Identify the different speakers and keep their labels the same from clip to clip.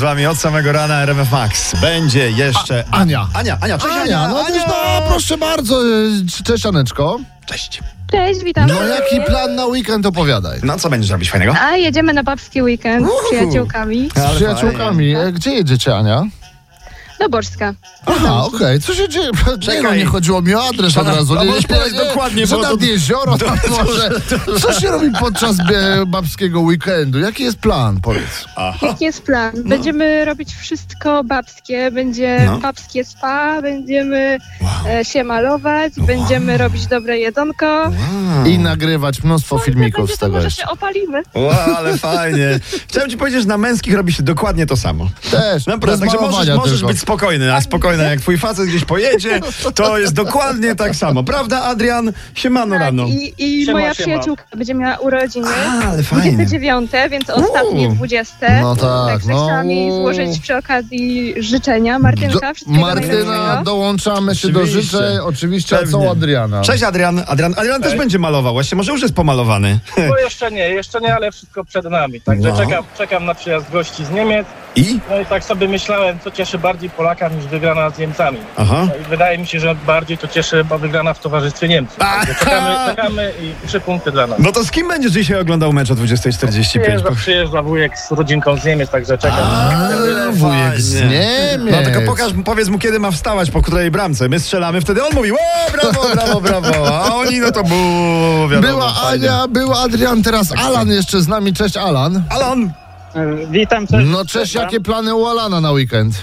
Speaker 1: wami od samego rana RMF Max. Będzie jeszcze
Speaker 2: A- Ania.
Speaker 1: Ania, Ania, cześć Ania.
Speaker 2: Ania, no,
Speaker 1: Ania.
Speaker 2: Ania. no proszę bardzo, y, cześć Aneczko.
Speaker 1: Cześć.
Speaker 3: Cześć, witam.
Speaker 2: No jaki plan na weekend opowiadaj?
Speaker 1: No co będziesz robić fajnego?
Speaker 3: A jedziemy na babski weekend
Speaker 1: Uhu.
Speaker 3: z przyjaciółkami.
Speaker 1: Ale
Speaker 2: Z przyjaciółkami. E, Gdzie jedziecie Ania?
Speaker 3: Do Bożska.
Speaker 2: Aha, okej, co się dzieje? Nie, no,
Speaker 1: Czekaj.
Speaker 2: nie chodziło mi o adres od
Speaker 1: Szanowna-
Speaker 2: razu.
Speaker 1: no,
Speaker 2: Nie, nie,
Speaker 1: możesz podać dokładnie,
Speaker 2: Że
Speaker 1: bo
Speaker 2: tam
Speaker 1: to-
Speaker 2: jezioro, tam może. Co się robi podczas e, babskiego weekendu? Jaki jest plan, powiedz?
Speaker 3: Jaki jest plan? Będziemy robić wszystko babskie. Będzie
Speaker 1: No.
Speaker 3: babskie spa, będziemy e, się malować, będziemy robić dobre jedzonko.
Speaker 2: I nagrywać mnóstwo filmików
Speaker 3: będzie,
Speaker 2: z
Speaker 3: to
Speaker 2: tego
Speaker 3: może
Speaker 2: jeszcze.
Speaker 3: się opalimy.
Speaker 1: Wow, ale fajnie. Chciałem ci powiedzieć, że na męskich robi się dokładnie to samo.
Speaker 2: Też,
Speaker 1: Naprawdę,
Speaker 2: bez
Speaker 1: No, także możesz,
Speaker 2: malowania
Speaker 1: możesz
Speaker 2: tylko.
Speaker 1: być spokojny, a spokojna jak twój facet gdzieś pojedzie, to jest dokładnie tak samo. Prawda, Adrian? Siemano
Speaker 3: Tak,
Speaker 1: No rano.
Speaker 3: I, i moja przyjaciółka będzie miała urodziny.
Speaker 1: A, ale fajnie.
Speaker 3: 29, więc ostatnie 20.
Speaker 2: No tak,
Speaker 3: Także
Speaker 2: no.
Speaker 3: chciałam jej złożyć przy okazji życzenia. Martynka,
Speaker 2: Do,
Speaker 3: wszystkiego
Speaker 2: Martyna,
Speaker 3: najlepszego.
Speaker 2: dołączamy się do
Speaker 1: Oczywiście.
Speaker 2: życzeń, oczywiście, a
Speaker 1: Pewnie.
Speaker 2: co Adriana?
Speaker 1: Cześć Adrian. Adrian, Adrian też będzie malował. Właśnie może już jest pomalowany.
Speaker 4: No jeszcze nie, jeszcze nie, ale wszystko przed nami. Także
Speaker 1: No.
Speaker 4: czekam, czekam na przyjazd gości z Niemiec.
Speaker 1: I?
Speaker 4: No i tak sobie myślałem, co cieszy bardziej Polaka niż wygrana z Niemcami.
Speaker 1: Aha.
Speaker 4: No i wydaje mi się, że bardziej to cieszy bo wygrana w towarzystwie Niemców. Także Czekamy, czekamy i trzy punkty dla nas.
Speaker 1: No to z kim będziesz dzisiaj oglądał mecz o 20.45?
Speaker 4: Przyjeżdża, przyjeżdża wujek z rodzinką z Niemiec, także czekam.
Speaker 2: Ale no wujek z
Speaker 1: fajnie.
Speaker 2: Niemiec.
Speaker 1: No tylko pokaż, mu, powiedz mu, kiedy ma wstawać, po której bramce. My strzelamy, wtedy on mówi, o, brawo, brawo, brawo. A oni, no to bu, wiadomo,
Speaker 2: Była
Speaker 1: fajnie.
Speaker 2: Ania, był Adrian, teraz Alan jeszcze z nami. Cześć Alan.
Speaker 1: Alan,
Speaker 5: Witam, cześć.
Speaker 2: No cześć, jakie plany u Alana na weekend?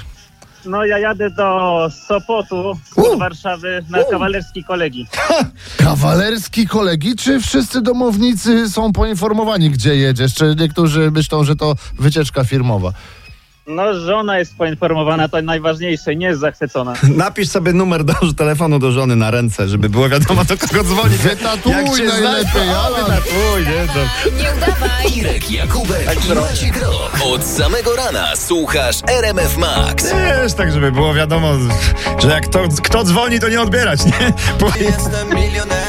Speaker 5: No ja jadę do Sopotu,
Speaker 1: U.
Speaker 5: z Warszawy, na kawalerski kolegi.
Speaker 2: Kawalerski kolegi, czy wszyscy domownicy są poinformowani, gdzie jedziesz? Czy niektórzy myślą, że to wycieczka firmowa?
Speaker 5: No żona jest poinformowana, to najważniejsze, nie jest zachwycona.
Speaker 1: napisz sobie numer do, telefonu do żony na ręce, żeby było wiadomo, do kogo dzwonić.
Speaker 2: Wytatuj
Speaker 1: Jak się
Speaker 2: najlepiej,
Speaker 1: zna-
Speaker 2: Alan.
Speaker 1: Wytatuj, nie, to...
Speaker 6: Irek Jakubek i Maciek Rok. Od samego rana słuchasz RMF Max.
Speaker 1: Wiesz, tak żeby było wiadomo, że jak to, kto dzwoni, to nie odbierać, nie? Bo...
Speaker 7: Jestem milionerem